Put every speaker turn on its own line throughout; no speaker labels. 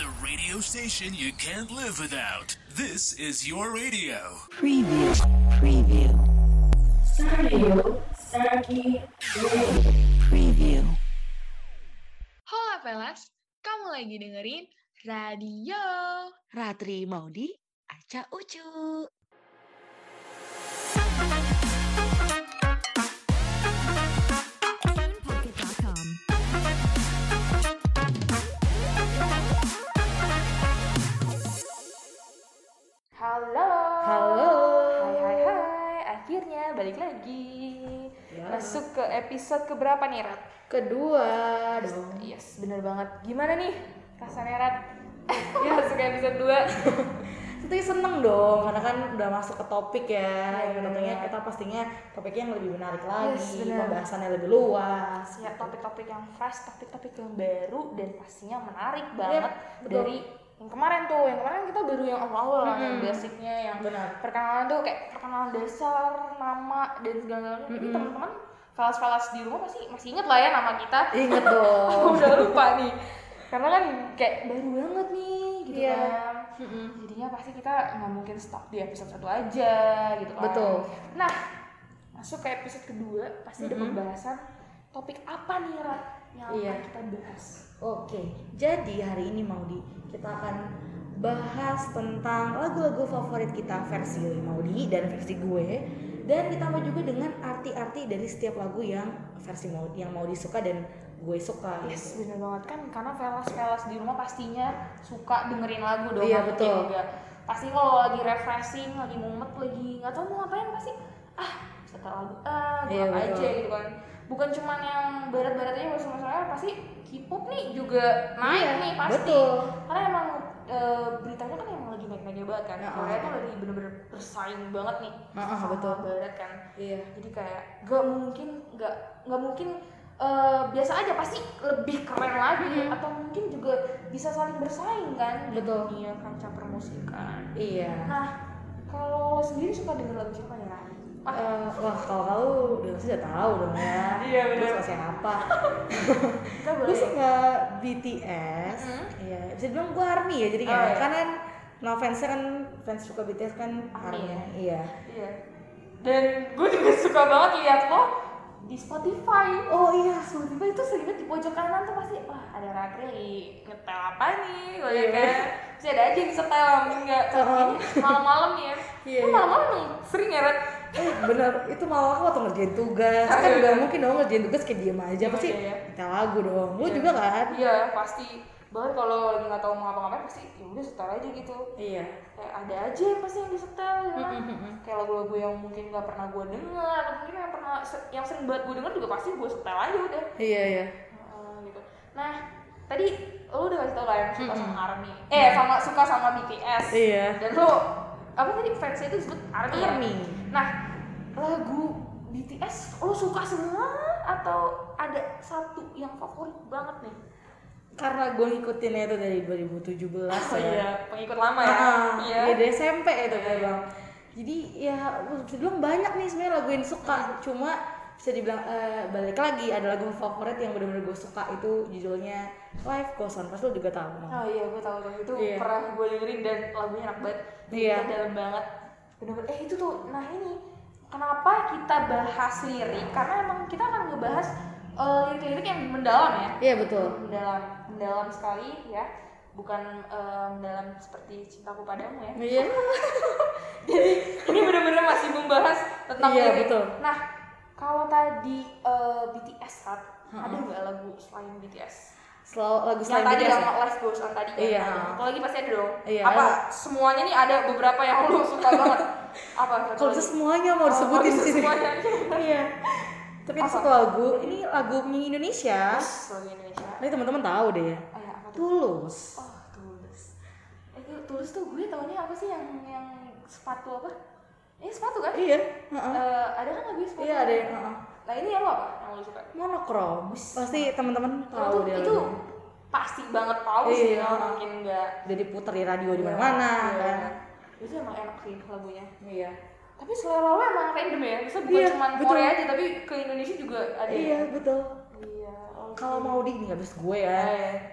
The radio station you can't live without. This is your radio.
Preview. Preview.
Sario, Sagi,
Preview.
Hola Pelas, kamu lagi dengerin radio.
Ratri Maudi, Aca Ucu.
TunePocket.com.
Halo.
Halo.
Hai hai hai, akhirnya balik lagi. Masuk ke episode keberapa nih, Rat?
Kedua dong.
Yes, bener banget. Gimana nih rasanya, Rat? ya, masuk ke episode 2.
Tentunya seneng dong, karena kan udah masuk ke topik ya.
Iya,
Yang tentunya
iya.
kita pastinya topiknya yang lebih menarik
Yes,
lagi,
benar.
pembahasannya lebih luas. gitu.
Ya, Iya. topik-topik yang fresh, topik-topik yang baru, dan pastinya menarik banget
Iya, betul.
dari yang kemarin tuh. Yang kemarin kita baru yang awal-awal, kan, yang
Mm-mm.
basicnya, yang
Benar.
perkenalan tuh kayak perkenalan dasar, nama, dan segala-galanya. Ini
Mm-mm.
teman-teman, falas-falas di rumah pasti masih inget lah ya nama kita.
Inget
aku
dong.
udah lupa nih karena kan kayak baru banget nih gitu
Iya.
kan jadinya pasti kita nggak mungkin stuck di episode satu aja gitu kan
Betul.
nah masuk ke episode kedua pasti ada
Mm-mm.
pembahasan topik apa nih Rat yang
Iya.
akan kita bahas
Oke, jadi hari ini Maudi kita akan bahas tentang lagu-lagu favorit kita versi Maudi dan versi gue dan ditambah juga dengan arti-arti dari setiap lagu yang versi Maudi yang Maudi suka dan gue suka.
yes bener banget kan karena velas velas di rumah pastinya suka dengerin lagu dong
Iya,
nggak mungkin
betul.
nggak. pasti kalau lagi refreshing lagi mumet lagi nggak tahu mau ngapain pasti ah setel lagu ah gue
Iya,
apa
betul.
aja gitu kan bukan cuman yang barat-barat aja masuk masalah pasti K-pop nih juga naik nih pasti
Iya, Betul.
karena emang e, beritanya kan emang lagi naik-naiknya banget kan
Ya,
Korea
ah.
tuh lagi bener-bener bersaing banget nih
Ah, ah,
sama
betul.
barat kan
Iya.
jadi kayak gak mungkin gak nggak mungkin eh, biasa aja pasti lebih keren lagi atau mungkin juga bisa saling bersaing kan di
Betul.
dunia kancah permusikan
Iya.
nah kalau sendiri suka denger lagu siapa ya Rai? Wah,
Eh, wah kalau kau udah pasti udah tahu dong ya
Iya, bener.
Gue suka siapa
kita
gue
boleh
suka BTS Iya, bisa dibilang gue ARMY ya jadi
Oh,
kayak-
iya.
karena kan no fans kan fans suka BTS kan
ARMY
ARMY
ya?
iya
iya dan gue juga suka banget lihat lo di Spotify
oh iya sorry
Spotify itu sering banget di pojok kanan tuh pasti wah ada Ratri ngetel apa nih gue
Iya.
kan bisa ada aja yang setel mungkin nggak
Uh-uh.
Kayaknya malam-malam ya
Iya,
Lu
iya.
malam-malam emang sering ya Rat
eh bener itu malah aku waktu ngerjain tugas kan
Iya.
gak mungkin dong ngerjain tugas kayak diem aja
Iya,
pasti
iya, iya.
kita lagu dong lu juga kan
Iya pasti. Bahkan kalau lagi nggak tahu mau ngapa-ngapain pasti ya udah setel aja gitu.
iya
Kayak ada aja yang pasti yang disetel ya kan? Kayak lagu-lagu yang mungkin nggak pernah gue denger atau mungkin yang pernah se- yang sering banget gue denger juga pasti gue setel aja udah.
iya iya
Heeh, gitu. Nah tadi lu udah kasih tau lah yang suka sama ARMY eh sama suka sama BTS
Iya.
dan lu apa tadi fansnya itu disebut ARMY, ya?
ARMY.
nah lagu BTS lu suka semua atau ada satu yang favorit banget nih
karena gue ngikutinnya itu dari 2017
Oh
ya
iya, pengikut lama ya.
Ah,
Iya.
iya dari SMP itu kan bang. Jadi ya bisa dibilang banyak nih sebenarnya lagu yang suka.
Iya.
Cuma bisa dibilang eh, balik lagi ada lagu favorit yang benar-benar gue suka itu judulnya Life Goes On. Pasti lo juga tahu Bang.
Oh iya, gue tahu tuh itu
Iya.
pernah gue dengerin dan lagunya enak banget.
Iya.
Liriknya dalam banget. Bener-bener. Eh itu tuh, nah ini kenapa kita bahas lirik? Karena emang kita akan ngebahas eh, lirik-lirik yang mendalam ya.
Iya betul.
Mendalam, mendalam sekali ya. Bukan eh, mendalam seperti cintaku padamu ya.
Iya.
Jadi ini bener-bener masih membahas tentang
Iya,
lirik.
betul.
Nah, kalau tadi eh, BTS kan, ada
Mm-mm.
nggak lagu selain BTS?
Selalu lagu
yang
selain
tadi
BTS
yang
ya?
live goes on tadi kan?
Iya.
Kalau lagi pasti ada dong.
Iya,
Apa
ada.
semuanya nih ada beberapa yang lu suka banget? Apa? satu
Kalau bisa
lagi?
semuanya mau
Oh,
disebutin
kalau
di sini.
semuanya.
Iya. Tapi ada
Apa?
satu lagu, ini lagu penyanyi Indonesia.
Sebagai Indonesia.
Ini teman-teman tahu deh ya.
Eh, apa tuh?
Tulus.
Oh, tulus. Eh, itu tulus tuh gue taunya apa sih yang yang sepatu apa? Ini sepatu kan?
Iya. heeh.
Eh, ada kan lagu sepatu?
Iya, ada yang- heeh.
Nah ini yang lo apa? Yang lo suka?
Monokrom. Pasti teman-teman tahu
itu,
deh.
itu
lagunya.
pasti banget tahu sih,
Iya.
nggak mungkin nggak.
udah diputer di radio di mana-mana
Iya.
kan.
Itu emang enak sih lagunya.
Iya.
tapi selera lo emang random ya bisa bukan
Iya,
cuma
betul.
Korea aja tapi ke Indonesia juga ada
Iya,
ya?
betul.
iya oh,
kalau mau di nggak habis gue ya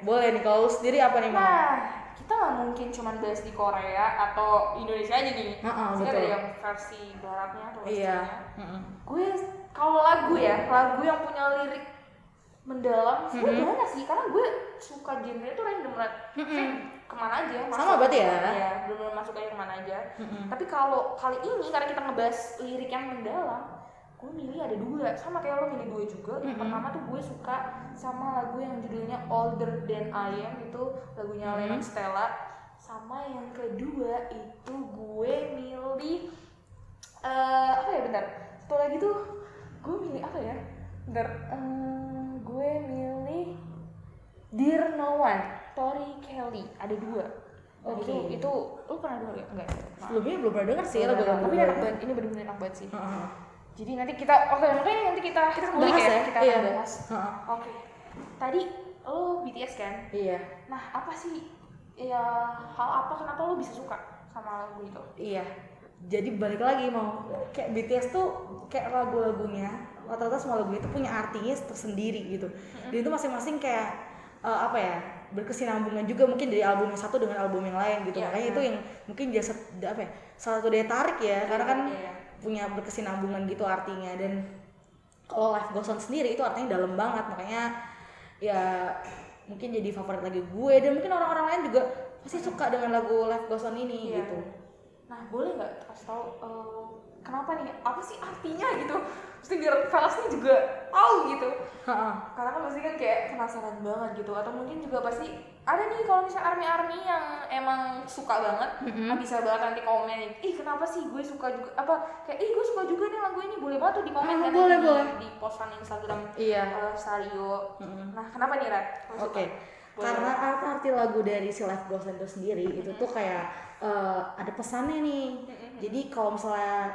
boleh nih kalau lu sendiri apa nih mau
Nah, kita nggak mungkin cuman bahas di Korea atau Indonesia aja nih.
Heeh,
Pasti ada
betul.
yang versi baratnya atau
iya
Westernnya.
Mm-mm.
Gue kalau lagu ya, lagu yang punya lirik mendalam, gue
Mhm.
banyak sih karena gue suka genre itu random banget.
Mm-mm.
Kayak kemana aja?
Sama berarti ya?
Iya, benar masuk aja kemana aja.
Mm-mm.
Tapi kalau kali ini karena kita ngebahas lirik yang mendalam, gue milih ada dua sama kayak lo milih gue juga. Yang
Mm-mm.
pertama tuh gue suka sama lagu yang judulnya Older Than I Am itu lagunya
Mm-mm.
Lennon Stella. Sama yang kedua itu gue milih eh apa ya bentar satu lagi tuh gue milih apa ya bentar eh, gue milih Dear No One Tori Kelly ada dua Lagu
Oke.
itu itu lu pernah denger ya? enggak ya? Maaf.
sebelumnya belum Iya, pernah denger sih
Enggak,
lagu
enggak.
lagu
tapi
gue.
enak banget ini bener-bener enak banget sih
Heeh.
jadi nanti kita oke makanya nanti kita kita
Bahas
kulik
ya
kita
iya.
akan bahas
Heeh.
oke tadi lu BTS kan
iya
nah apa sih ya hal apa kenapa lu bisa suka sama lagu itu
Iya. Jadi balik lagi mau kayak BTS tuh kayak lagu-lagunya rata-rata semua lagu itu punya artinya tersendiri gitu. Dan itu masing-masing kayak eh, apa ya berkesinambungan juga mungkin dari album yang satu dengan album yang lain gitu.
Iya,
Makanya
iya.
itu yang mungkin jasa apa ya salah satu daya tarik ya karena kan
Iya.
punya berkesinambungan gitu artinya dan kalau live goes on sendiri itu artinya dalam banget makanya ya mungkin jadi favorit lagi gue dan mungkin orang-orang lain juga pasti suka dengan lagu live goes on ini
Iya.
gitu.
Nah, boleh nggak kasih tahu eh, kenapa nih? Apa sih artinya gitu? Mesti biar fans nih juga tahu gitu.
Heeh.
Karena kan pasti kan kayak penasaran banget gitu. Atau mungkin juga pasti ada nih kalau misalnya army-army yang emang suka banget,
Mm-hmm.
ah, bisa banget nanti komen, ih kenapa sih gue suka juga apa kayak ih gue suka juga nih lagu ini boleh banget tuh di komen
Ah,
kan
boleh,
di,
boleh.
di postan Instagram
Iya.
eh, Sario.
Mm-mm.
Nah, kenapa nih Rat? Lo
Oke.
suka? Boleh.
Karena arti-arti lagu dari si Life Goes On itu sendiri itu tuh kayak eh, ada pesannya nih. Jadi kalau misalnya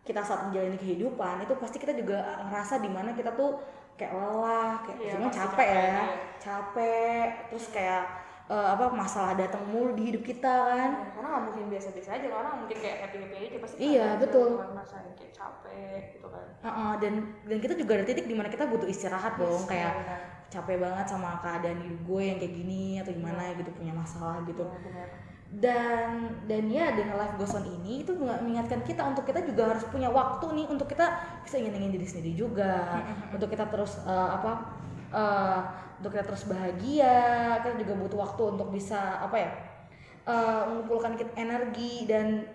kita saat menjalani kehidupan itu pasti kita juga ngerasa di mana kita tuh kayak lelah, kayak
Iya,
cuma
pasti
capek,
capek,
ya,
iya.
capek. Terus kayak eh, apa masalah datang mulu di hidup kita kan.
Nah, karena nggak mungkin biasa-biasa aja orang mungkin kayak happy happy aja pasti
Iya,
ada aja
betul.
orang ngerasain kayak capek gitu kan
Heeh, dan dan kita juga ada titik di mana kita butuh istirahat dong
Yes,
kayak
benar,
capek banget sama keadaan hidup gue yang kayak gini atau gimana gitu punya masalah gitu.
benar, benar.
dan dan ya dengan life goes on ini itu menga- mengingatkan kita untuk kita juga harus punya waktu nih untuk kita bisa nyenengin diri sendiri juga untuk kita terus eh, apa eh, untuk kita terus bahagia kita juga butuh waktu untuk bisa apa ya eh, mengumpulkan kit- energi dan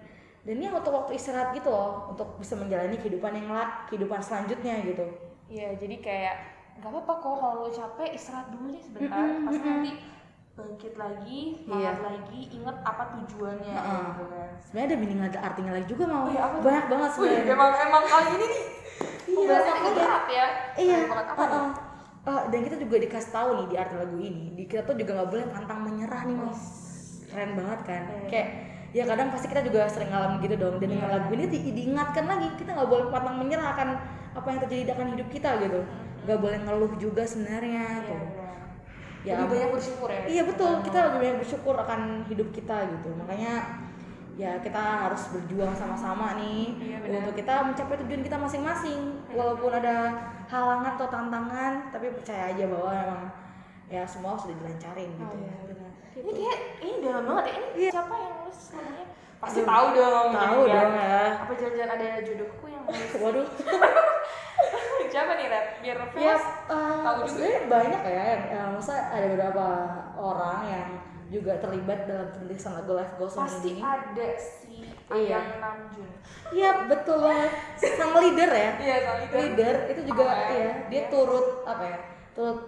dan ya untuk waktu istirahat gitu loh untuk bisa menjalani kehidupan yang la- kehidupan selanjutnya gitu
iya jadi kayak nggak apa-apa kok kalau lo capek istirahat dulu deh sebentar
Mm-mm,
pasti
mm-mm.
nanti bangkit lagi semangat lagi inget apa tujuannya
Heeh.
gitu kan
sebenarnya ada meaning ada artinya lagi juga mau
Oh iya, apa tuh?
banyak banget
Wih,
sebenarnya
emang emang kali ini nih
Iya,
pembahasan ini
iya.
berat ya
Iya.
Berat banget. apa nih
uh-uh. Uh, dan kita juga dikasih tahu nih di arti lagu ini, di kita tuh juga nggak boleh pantang menyerah nih mas. Keren banget kan?
Iya.
Kayak ya kadang pasti kita juga sering ngalamin gitu dong. Dan dengan
Iya.
lagu ini di- diingatkan lagi kita nggak boleh pantang menyerah akan apa yang terjadi akan hidup kita gitu. Nggak boleh ngeluh juga sebenarnya.
Iya,
tuh.
benar.
Ya,
lebih banyak bersyukur ya
Iya betul, kita lebih banyak bersyukur akan hidup kita gitu. Makanya ya kita harus berjuang sama-sama nih
Iya, benar. Iya.
untuk kita mencapai tujuan kita masing-masing. Walaupun ada halangan atau tantangan, tapi percaya aja bahwa emang ya semua sudah dilancarin
Oh,
gitu.
iya, benar. Ini kayak ini dalam banget ya. Ini
Iya.
siapa yang nulis lagunya? Pasti
Aduh,
tahu dong.
Tahu
jangan-jangan.
dong ya.
Apa jangan-jangan ada jodohku yang nulis?
Waduh.
siapa nih, Red? Biar
Ya,
famous.
eh,
Tahu juga.
sebenarnya banyak ya. yang- eh, Masa ada beberapa orang yang juga terlibat dalam penulisan lagu Life Goes On
Pasti
ini.
ada si
Iya.
Ayang Namjoon.
Iya betul banget. Sang leader ya.
Iya, soalnya
leader itu juga
Apa ya?
ya dia
Iya.
turut apa ya turut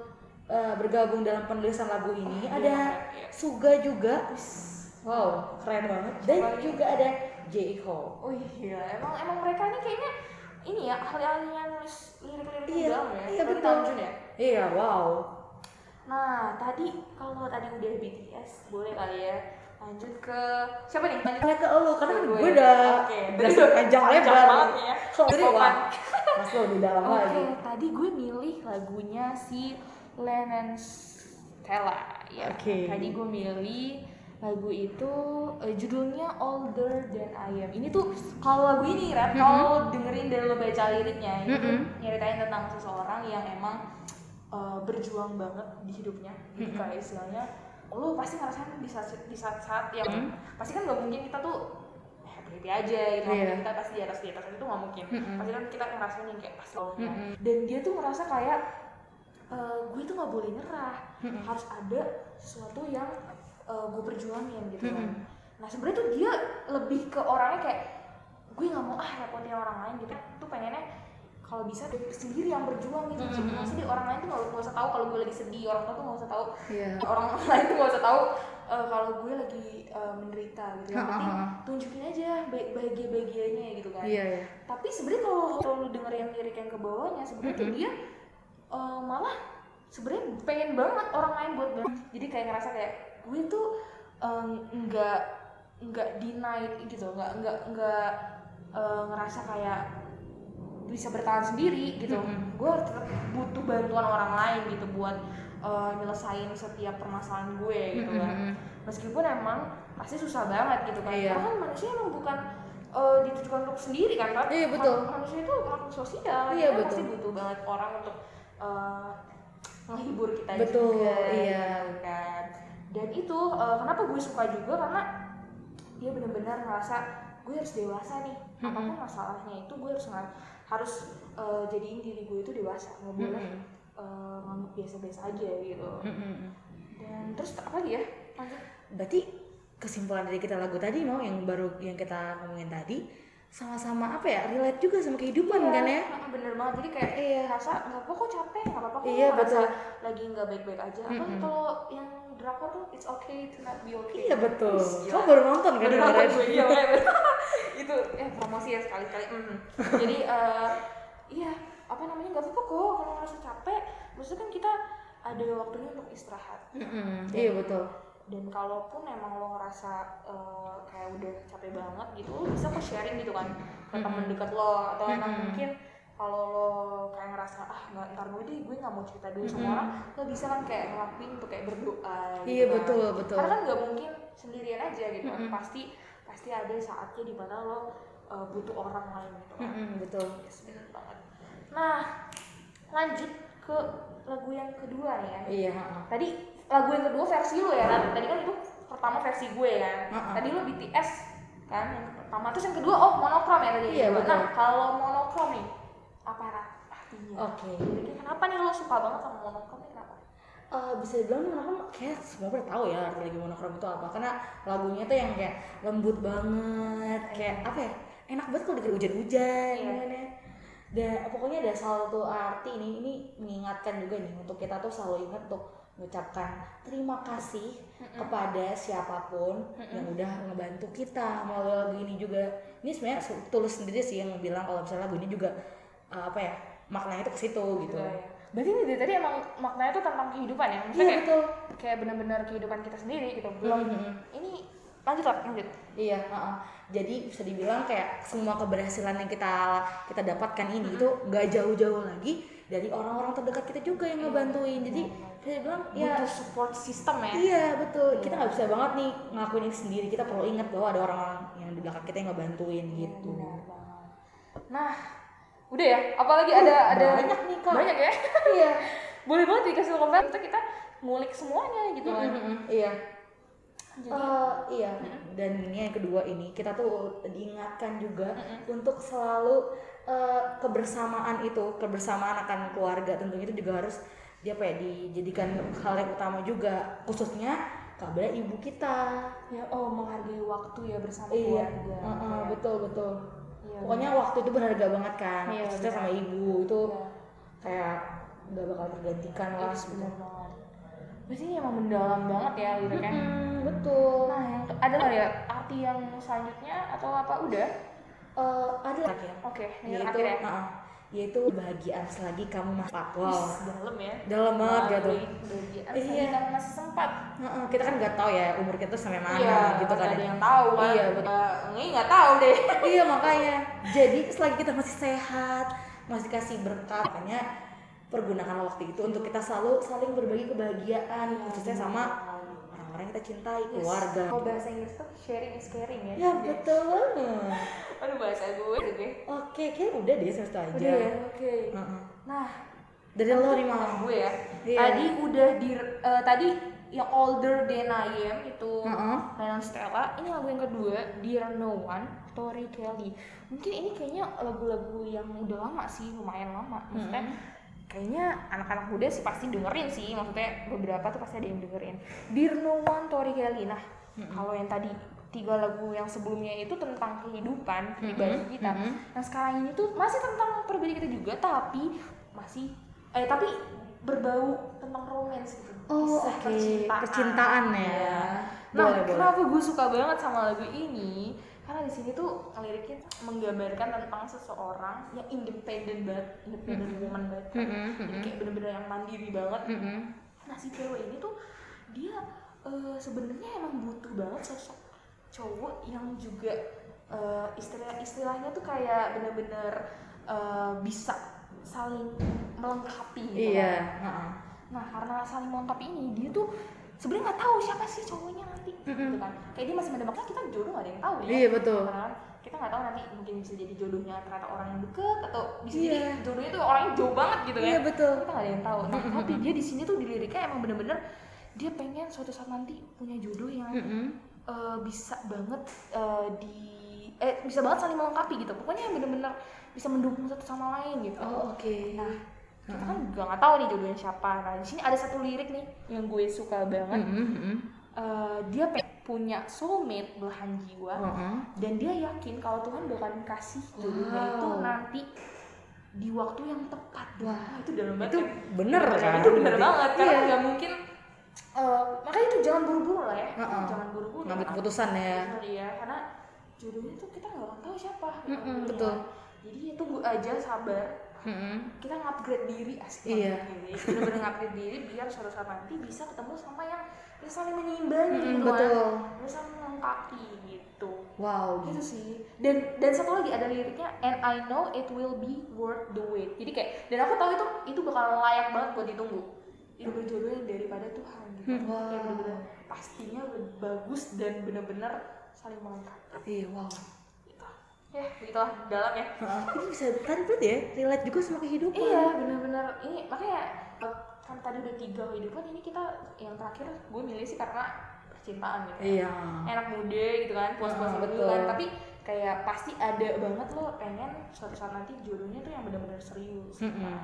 eh, bergabung dalam penulisan lagu ini
Iya,
ada
iya.
Suga juga wow keren banget dan
Suga.
juga ada J-Hope
Oh iya, emang emang mereka ini kayaknya ini ya ahli-ahli yang nulis lirik-lirik
Iya,
dalam ya.
iya,
Selain
betul.
Namjoon ya.
iya wow
Nah, tadi kalau tadi udah BTS, boleh kali ya lanjut ke siapa nih? Lanjut
Balik ke lu karena
Ke
gue udah
Oke,
udah
tadi udah
panjang lebar
banget nih ya.
jadi
Kopan.
wah mas lo di dalam
Oke,
lagi
tadi gue milih lagunya si Lennon Stella ya.
Oke.
Tadi gue milih lagu itu eh, judulnya Older Than I Am. Ini tuh kalau lagu ini rap, kalau dengerin dan lo baca liriknya, ini tuh nyeritain tentang seseorang yang emang eh, berjuang banget di hidupnya jadi kayak istilahnya lu pasti ngerasain di saat di saat, saat yang
Mhm.
pasti kan nggak mungkin kita tuh happy happy aja gitu Nggak
Iya.
mungkin kita pasti di atas di atas itu nggak mungkin
Mhm.
pasti kan kita ngerasain yang kayak pas bawahnya.
Mhm.
dan dia tuh ngerasa kayak eh, gue tuh nggak boleh nyerah harus ada sesuatu yang eh, gue perjuangin gitu kan.
Mhm.
nah sebenarnya tuh dia lebih ke orangnya kayak gue nggak mau ah repotin orang lain gitu tuh pengennya kalau bisa dia sendiri yang berjuang gitu
Mhm.
maksudnya orang lain tuh nggak nggak usah tahu kalau gue lagi sedih orang tua tuh nggak usah tahu
Iya.
orang lain tuh nggak usah tahu eh, kalau gue lagi eh, menderita gitu
Ha,
yang
ha,
penting
ha.
tunjukin aja bahagia bahagianya gitu kan
Iya, iya.
tapi sebenarnya kalau kalau lu dengerin lirik yang ke bawahnya sebenarnya tuh dia eh, malah sebenarnya pengen banget orang lain buat banget jadi kayak ngerasa kayak gue tuh eh, nggak nggak denied gitu nggak nggak nggak eh, ngerasa kayak bisa bertahan sendiri gitu
Mhm.
gue tetap butuh bantuan orang lain gitu buat eh, nyelesain setiap permasalahan gue gitu kan
Mhm.
meskipun emang pasti susah banget gitu kan
Iya.
karena kan manusia emang bukan eh, ditujukan untuk sendiri kan Rat?
Iya, betul.
Man- manusia itu makhluk sosial
Iya,
kita
betul.
pasti butuh banget orang untuk eh, menghibur kita
Betul,
juga
iya.
gitu kan dan itu eh, kenapa gue suka juga karena dia benar-benar ngerasa gue harus dewasa nih apapun masalahnya itu gue harus nge- harus eh, jadiin diri gue itu dewasa nggak boleh
Mhm.
eh, nganggep biasa-biasa aja gitu
Mhm.
dan terus apa lagi ya lanjut
Berarti kesimpulan dari kita lagu tadi mau yang baru yang kita ngomongin tadi sama-sama apa ya relate juga sama kehidupan
Iya,
kan ya?
heeh, bener banget jadi kayak
Iya.
rasa nggak apa kok capek nggak apa-apa kok
Iya,
lu ngerasa
betul.
lagi nggak baik-baik aja apa
Mm-mm.
kalau yang drakor tuh it's okay to not be okay
Iya betul.
Terus,
Kamu
gila.
baru nonton kan
Bener
kemarin?
banget gue, iya, bener. itu ya promosi ya sekali-kali mm. jadi eh, iya apa namanya nggak apa-apa kok kalau ngerasa capek maksudnya kan kita ada waktunya untuk istirahat
Mhm, Iya betul.
dan kalaupun emang lo ngerasa eh, kayak udah capek banget gitu lo bisa kok sharing gitu kan ke temen dekat lo atau emang
Mm-mm.
mungkin kalau lo kayak ngerasa ah nggak ntar dulu deh gue nggak mau cerita dulu sama
Mm-mm.
orang lo bisa kan kayak ngelakuin tuh kayak berdoa gitu
Iya
kan.
betul betul.
karena kan nggak mungkin sendirian aja gitu kan
Mm-mm.
pasti pasti ada saatnya dimana lo eh, butuh orang lain gitu kan
Mhm, betul.
Yes, bener banget nah lanjut ke lagu yang kedua nih ya
Iya. ha-ha.
tadi lagu yang kedua versi lu ya kan tadi kan itu pertama versi gue kan
Heeh.
tadi lu BTS kan yang pertama terus yang kedua oh monokrom ya tadi yang
Iya,
kedua.
betul.
nah kalau monokrom nih apa Rat? artinya
Oke.
Jadi kenapa nih lo suka banget sama monokrom nih kenapa
Eh, bisa dibilang monokrom kayak semua pada tahu ya arti lagi monokrom itu apa karena lagunya tuh yang kayak lembut banget kayak apa ya enak banget kalau denger hujan-hujan
Iya.
gimana dan pokoknya ada satu arti ini ini mengingatkan juga nih untuk kita tuh selalu ingat untuk mengucapkan terima kasih kepada siapapun yang udah ngebantu kita melalui lagu ini juga ini sebenarnya su- tulus sendiri sih yang bilang kalau misalnya lagu ini juga eh, apa ya maknanya itu ke situ gitu
Iya, iya. berarti ini dari tadi emang maknanya itu tentang kehidupan ya maksudnya
iya
kayak,
betul
kayak benar-benar kehidupan kita sendiri gitu belum
Mhm.
ini lanjut Rat, lanjut
Iya, heeh. jadi bisa dibilang kayak semua keberhasilan yang kita kita dapatkan ini itu gak jauh-jauh lagi dari orang-orang terdekat kita juga yang ngebantuin. Jadi bisa dibilang ya
butuh support system ya
iya betul. Kita nggak bisa banget nih ngakuin ini sendiri. Kita perlu ingat bahwa ada orang-orang yang di belakang kita yang ngebantuin gitu.
Benar banget. Nah, udah ya. Apalagi ada ada
banyak nih, Kak.
Banyak ya.
Iya.
Boleh banget dikasih komen. Kita kita ngulik semuanya gitu kan.
Iya.
Jadi
Eh, iya. Dan ini yang kedua ini kita tuh diingatkan juga untuk selalu eh, kebersamaan itu kebersamaan akan keluarga tentunya itu juga harus dia apa ya dijadikan hal yang utama juga khususnya kepada ibu kita.
ya oh menghargai waktu ya bersama
Iya.
keluarga.
Heeh,
Kayak-
betul betul.
Iya,
Pokoknya waktu itu berharga banget kan.
Iya,
khususnya
benar.
sama ibu itu
Iya.
kayak nggak bakal tergantikan
Iya,
lah.
benar banget. Berarti ini emang mendalam banget ya gitu kan.
Hmm, betul.
Nah, yang ke- ada nggak ya arti yang selanjutnya atau apa udah?
Eh, ada lagi yang
Oke, ini yang
yaitu
akhir ya.
maaf, yaitu kebahagiaan selagi kamu masih sempat wow
Wis, dalam ya.
dalam banget gak tuh
Kebahagiaan
Iya.
selagi kamu kan masih sempat.
Heeh, kita kan nggak tahu ya umur kita sampai mana gitu kan
Iya, ada
ya.
yang tahu kan
Iya, betul.
ini nggak tahu deh
iya makanya jadi selagi kita masih sehat masih dikasih berkat makanya pergunakan waktu itu untuk kita selalu saling berbagi kebahagiaan khususnya sama orang-orang yang kita cintai keluarga
kalau bahasa Inggris tuh sharing is caring ya
ya betul banget
aduh bahasa gue gitu deh
oke kayaknya udah deh selesai aja
udah ya oke
Heeh.
nah
Dari lo nih Mau.
gue ya.
Iya.
Tadi udah di eh, tadi yang older than I am itu
Heeh.
Lennon Stella. Ini lagu yang kedua Dear No One, Tori Kelly. Mungkin ini kayaknya lagu-lagu yang udah lama sih, lumayan lama. Maksudnya kayaknya anak-anak muda sih pasti dengerin sih. Maksudnya beberapa tuh pasti ada yang dengerin. Dear No One, Tori Kelly. Nah, kalau yang tadi tiga lagu yang sebelumnya itu tentang kehidupan pribadi kita. Nah sekarang ini tuh masih tentang pribadi kita juga, tapi masih eh tapi berbau tentang romance gitu.
Oh,
Kisah
oke. Kecintaan ya.
Iya. Nah,
Boleh, boleh.
kenapa gue suka banget sama lagu ini? Karena di sini tuh liriknya menggambarkan tentang seseorang yang independen banget, independen
Mm-hmm.
woman banget.
Mm-mm,
Jadi
mm-mm.
kayak bener-bener yang mandiri banget.
Mm-mm.
Nah, si cewek ini tuh dia eh, sebenarnya emang butuh banget sosok cowok yang juga eh, istilah istilahnya tuh kayak bener-bener eh, bisa saling melengkapi gitu
Iya.
kan.
heeh.
Nah karena saling melengkapi ini dia tuh sebenarnya nggak tahu siapa sih cowoknya nanti gitu kan. Kayak dia masih mendebaknya kita jodoh nggak ada yang tahu ya.
Iya, betul.
Karena kan kita nggak tahu nanti mungkin bisa jadi jodohnya ternyata orang yang deket atau bisa
Iya.
jadi jodohnya tuh orangnya jauh banget gitu kan.
Iya, betul.
Kita nggak ada yang tahu. Nah tapi dia di sini tuh di liriknya emang bener-bener dia pengen suatu saat nanti punya jodoh yang
Mm-mm.
eh, bisa banget eh, di eh bisa banget saling melengkapi gitu. Pokoknya yang bener-bener bisa mendukung satu sama lain gitu
Oh, oke.
nah kita kan juga nggak tahu nih jodohnya siapa nah di sini ada satu lirik nih yang gue suka banget
Mm-mm, mm-mm.
Eh, dia pe- punya soulmate belahan jiwa
Heeh.
dan dia yakin kalau Tuhan bakal kasih jodohnya
Wow.
itu nanti di waktu yang tepat
Wah.
Wah, itu dalam banget
Itu
kan?
bener kan?
itu bener banget karena
Iya.
nggak mungkin eh, makanya itu jangan buru-buru lah ya
Heeh.
jangan buru-buru
Ngambil
Karena-
keputusan ya.
Bener ya, karena jodohnya tuh kita nggak akan tahu siapa
Mm-mm,
Bener ya.
betul.
jadi ya tunggu aja sabar
Mm-mm.
kita ngupgrade diri asli
Iya.
bener-bener ngupgrade diri biar suatu saat nanti bisa ketemu sama yang yang saling menyeimbangi
Mm-mm,
gitu kan.
betul.
Yang saling melengkapi gitu
Wow.
gitu sih dan dan satu lagi ada liriknya and I know it will be worth the wait jadi kayak dan aku tahu itu itu bakal layak banget buat ditunggu itu berjodoh daripada Tuhan gitu
Hmm, wow.
kayak bener-bener pastinya bagus dan bener-bener saling melengkapi
Iya, wow.
gitu ya begitulah dalam ya
Heeh. Ini bisa tadi berarti ya relate juga sama kehidupan.
Iya benar-benar ini makanya eh, kan tadi udah tiga kehidupan ini kita yang terakhir gue milih sih karena percintaan gitu.
Iya.
Enak muda gitu kan
Ah,
puas-puasan dulu
betul.
kan tapi kayak pasti ada banget lo pengen suatu saat nanti jodohnya tuh yang benar-benar serius.
Mm-mm.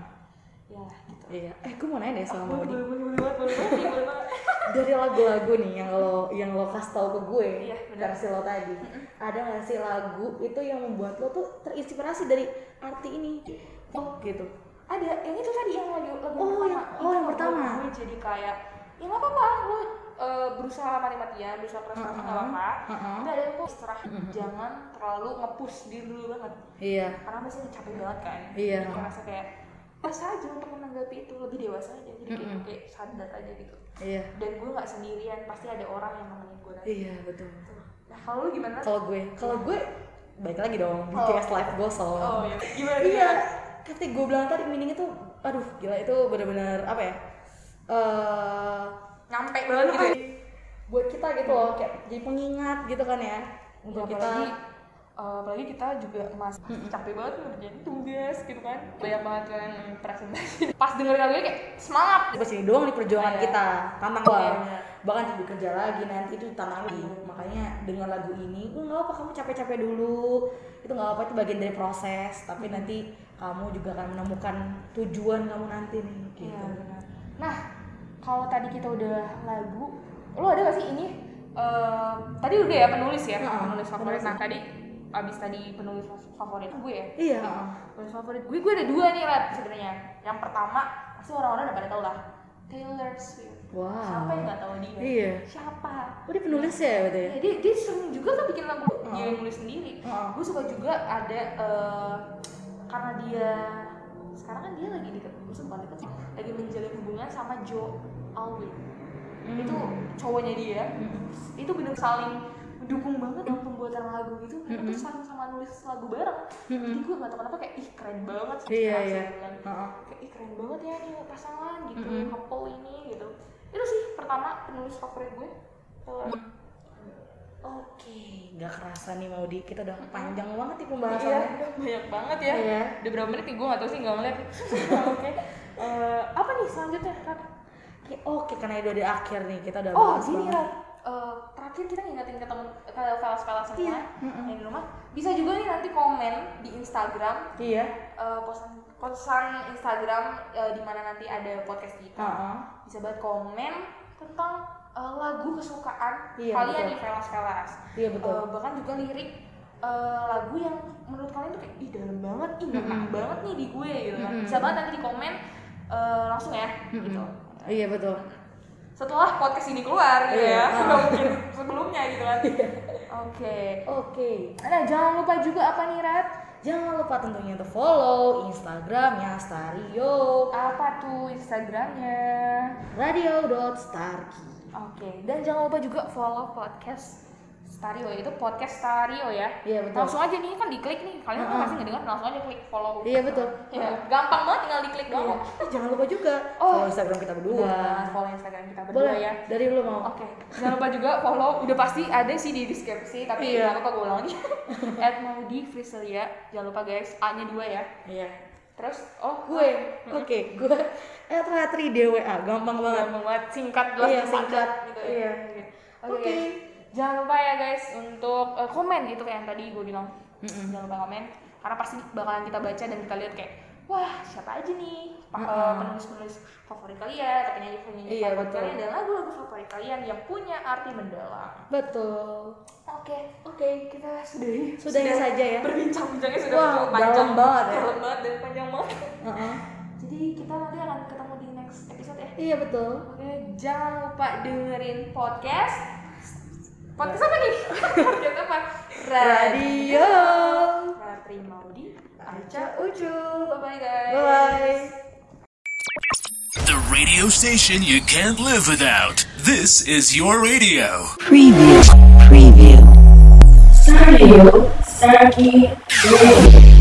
Ya gitu.
Iya. Eh, gue mau nanya deh
Oh,
sama Maudi.
boleh, boleh, boleh banget, boleh banget, boleh banget.
Dari lagu-lagu nih yang lo yang lo kasih tau ke gue
Iya, benar.
versi lo tadi, ada nggak sih lagu itu yang membuat lo tuh terinspirasi dari arti ini? Oh, gitu.
ada yang itu tadi yang lagu lagu
Oh,
pertama
yang- oh,
Itu
yang pertama.
gue jadi kayak ya nggak apa-apa lu eh, berusaha mati-matian berusaha keras keras nggak apa-apa
Uh-uh.
tapi ada yang kok serah jangan terlalu ngepush diri dulu banget
Iya.
karena pasti capek banget kan
Iya.
Jadi ngerasa kayak pas aja untuk menanggapi itu lebih dewasa aja jadi kayak,
Mm-mm.
kayak sadar aja gitu
Iya.
dan gue nggak sendirian pasti ada orang yang nemenin gue nanti
Iya, Oh. betul.
nah kalau lu gimana
Kalau gue, kalau gue baik lagi dong BTS Live Goal.
oh iya gimana
iya
gimana?
ketika gue bilang tadi meaning itu aduh gila itu benar-benar apa ya eh
nyampe banget gitu ya.
buat kita gitu loh kayak jadi pengingat gitu kan ya
Ya,
untuk kita
apalagi eh, apalagi kita juga mas capek banget ngerjain tugas gitu kan
Iya.
banyak banget kan yang presentasi pas denger lagu ini kayak semangat
di sini doang di perjuangan
Iya.
kita tantang gua
Iya.
bahkan sambil kerja lagi nanti itu tantang lagi makanya dengan lagu ini "Oh, nggak apa kamu capek-capek dulu itu nggak apa itu bagian dari proses tapi
Hmm.
nanti kamu juga akan menemukan tujuan kamu nanti nih gitu
Iya, benar. nah kalau tadi kita udah lagu lu ada gak sih ini eh, tadi udah ya penulis ya
Heeh,
penulis
penulis.
favorit nah tadi abis tadi penulis fa- favorit gue ya
iya
penulis favorit gue gue ada dua nih rat sebenarnya yang pertama pasti orang-orang udah pada tau lah Taylor Swift
wow
siapa yang gak tahu dia
Iya.
siapa
Oh, dia penulis ya berarti ya?
Ya, dia, dia sering juga tuh bikin lagu dia
Heeh.
yang nulis sendiri.
Heeh.
Gue suka juga ada eh, karena dia sekarang kan dia lagi deket, maksudnya bukan deket, sih, lagi menjalin hubungan sama Joe Alwyn.
Hmm.
Itu cowoknya dia. Itu bener saling mendukung banget dalam pembuatan lagu gitu. Mereka
Hmm.
tuh sama-sama nulis lagu bareng. Jadi gue nggak tahu kenapa kayak ih keren banget.
Iya,
inspirasi
iya.
gitu kan.
Heeh. Hmm.
Kayak ih keren banget ya nih pasangan gitu, couple ini gitu. Itu sih pertama penulis favorit gue. Eh, Taylor
Hmm. Oke, nggak kerasa nih mau di kita udah panjang banget nih
Iya,
pembahasannya.
banyak banget ya.
Iya.
Udah berapa menit nih gue gak tau sih gak ngeliat. Oke. Eh, apa nih selanjutnya Rat?
Oke, oke karena itu udah akhir nih kita udah
Oh
bahas
gini
banget.
Rat, Eh, terakhir kita ngingetin ke temen ke falas-falas semua
Iya.
yang di rumah bisa juga nih nanti komen di Instagram
Iya.
eh, postan postan Instagram eh, di mana nanti ada podcast kita
Heeh.
bisa buat komen tentang eh, lagu kesukaan
Iya,
kalian
betul.
nih falas-falas
Iya betul.
Eh, bahkan juga lirik eh, lagu yang menurut kalian tuh kayak ih dalam banget ih ngena
Mm-mm.
banget nih di gue gitu kan
Mm-mm.
bisa banget nanti di komen eh, langsung ya gitu
Iya betul.
setelah podcast ini keluar gitu
Iya.
ya nggak mungkin sebelumnya gitu kan oke
Oke.
nah jangan lupa juga apa nih Rat
Jangan lupa tentunya untuk follow Instagramnya Stario
apa tuh Instagramnya
Radio.starki
oke dan jangan lupa juga follow podcast Stario itu podcast Stario ya
Iya betul
langsung aja nih kan diklik nih kalian kan
Mm-mm.
pasti nggak dengar langsung aja klik follow
Iya betul
ya gampang banget tinggal diklik
Iya.
doang kok.
Eh, Jangan lupa juga
Oh.
follow Instagram kita berdua
Nah, follow Instagram kita berdua
Boleh
ya.
dari lu mau
Oke, jangan lupa juga follow. Udah pasti ada sih di deskripsi, tapi
Iya.
jangan lupa gue ulangi. At Maudi Friselia, jangan lupa guys, A-nya dua ya.
Iya
Terus, oh
Gue Oke gue Eh Ratri DWA Gampang banget
Gampang banget, Iya. singkat jelas
Iya,
dimakan
singkat.
gitu ya.
Iya.
Oke.
Oke.
guys. Jangan lupa ya guys untuk eh, komen itu kayak yang tadi gue bilang. Jangan lupa komen karena pasti bakalan kita baca dan kita lihat kayak wah siapa aja nih pa- eh,
Mm-mm.
penulis-penulis favorit kalian atau penyanyi-penyanyi
Iya,
favorit
betul.
kalian dan lagu-lagu favorit kalian yang punya arti mendalam.
Betul
Oke, oke kita sudahi
Sudahi saja ya
berbincang-bincangnya sudah
Wah,
cukup
dalam banget ya.
dalam banget dan panjang banget.
Heeh.
Jadi kita nanti akan ketemu di next episode ya.
Iya betul
Oke, jangan lupa dengerin podcast. Podcast apa nih? podcast apa?
Radio
Ratri Maudi, Arca.
Aja Ucu
Bye bye guys.
Bye
The radio station you can't live without. This is your radio.
Preview. Preview.
Stadio Saki